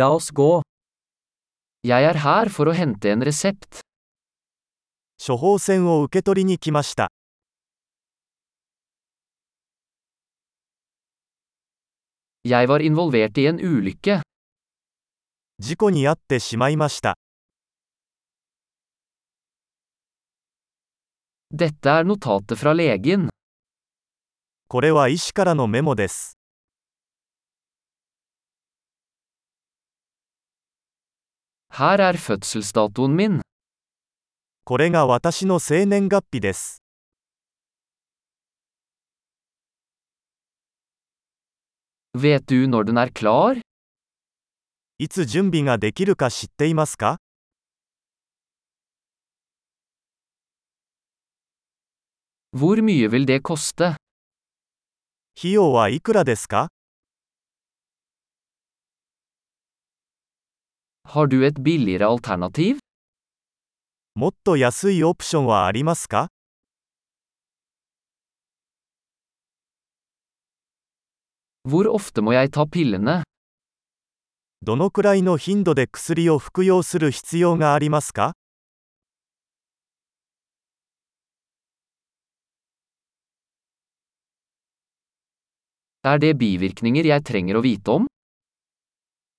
La oss gå. Jeg er her for å hente en resept. 処方箋を受け取りに来ました。 Jeg var involvert i en ulykke. 事故に遭ってしまいました。 Dette er notatet fra legen. これは医師からのメモです。 Her er fødselsdatoen min. これが私の生年月日です。 Vet du når den er klar? いつ準備ができるか知っていますか Hvor mye vil det koste? 費用はいくらですか Har du et billigere alternativ? もっと安いオプションはありますか Hvor ofte må jeg ta pillene? どのくらいの頻度で薬を服用する必要がありますか Er det bivirkninger jeg trenger å vite om?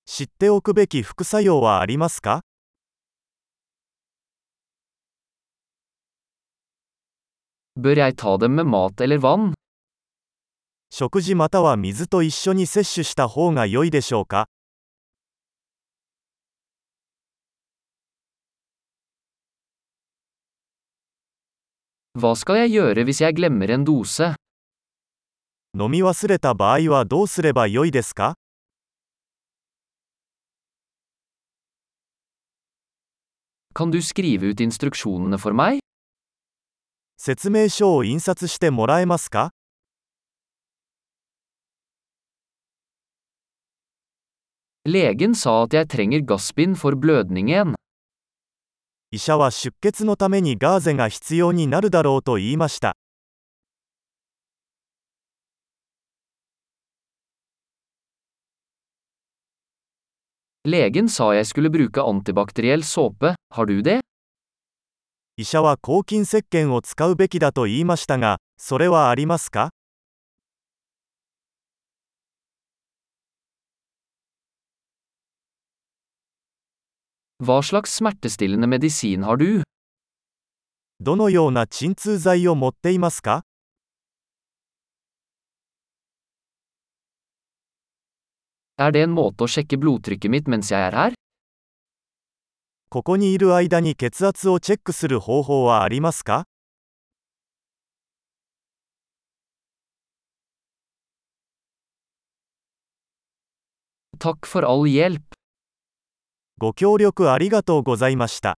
知っておくべき副作用はありますか Bør jeg ta dem med mat eller vann? 食事または水と一緒に摂取した方が良いでしょうか Hva skal jeg gjøre hvis jeg glemmer en dose? 飲み忘れた場合はどうすれば良いですか Kan du skrive ut instruksjonene for meg? 説明書を印刷してもらえますか Legen sa at jeg trenger gassbind for blødningen. 医者は出血のためにガーゼが必要になるだろうと言いました。 Legen sa jeg skulle bruke antibakteriell såpe, har du det? 医者は抗菌石鹸を使うべきだと言いましたが、それはありますか Hva slags smertestillende medisin har du? どのような鎮痛剤を持っていますか Er det en måte å sjekke blodtrykket mitt mens jeg er her? ここにいる間に血圧をチェックする方法はありますか Takk for all hjelp. ご協力ありがとうございました。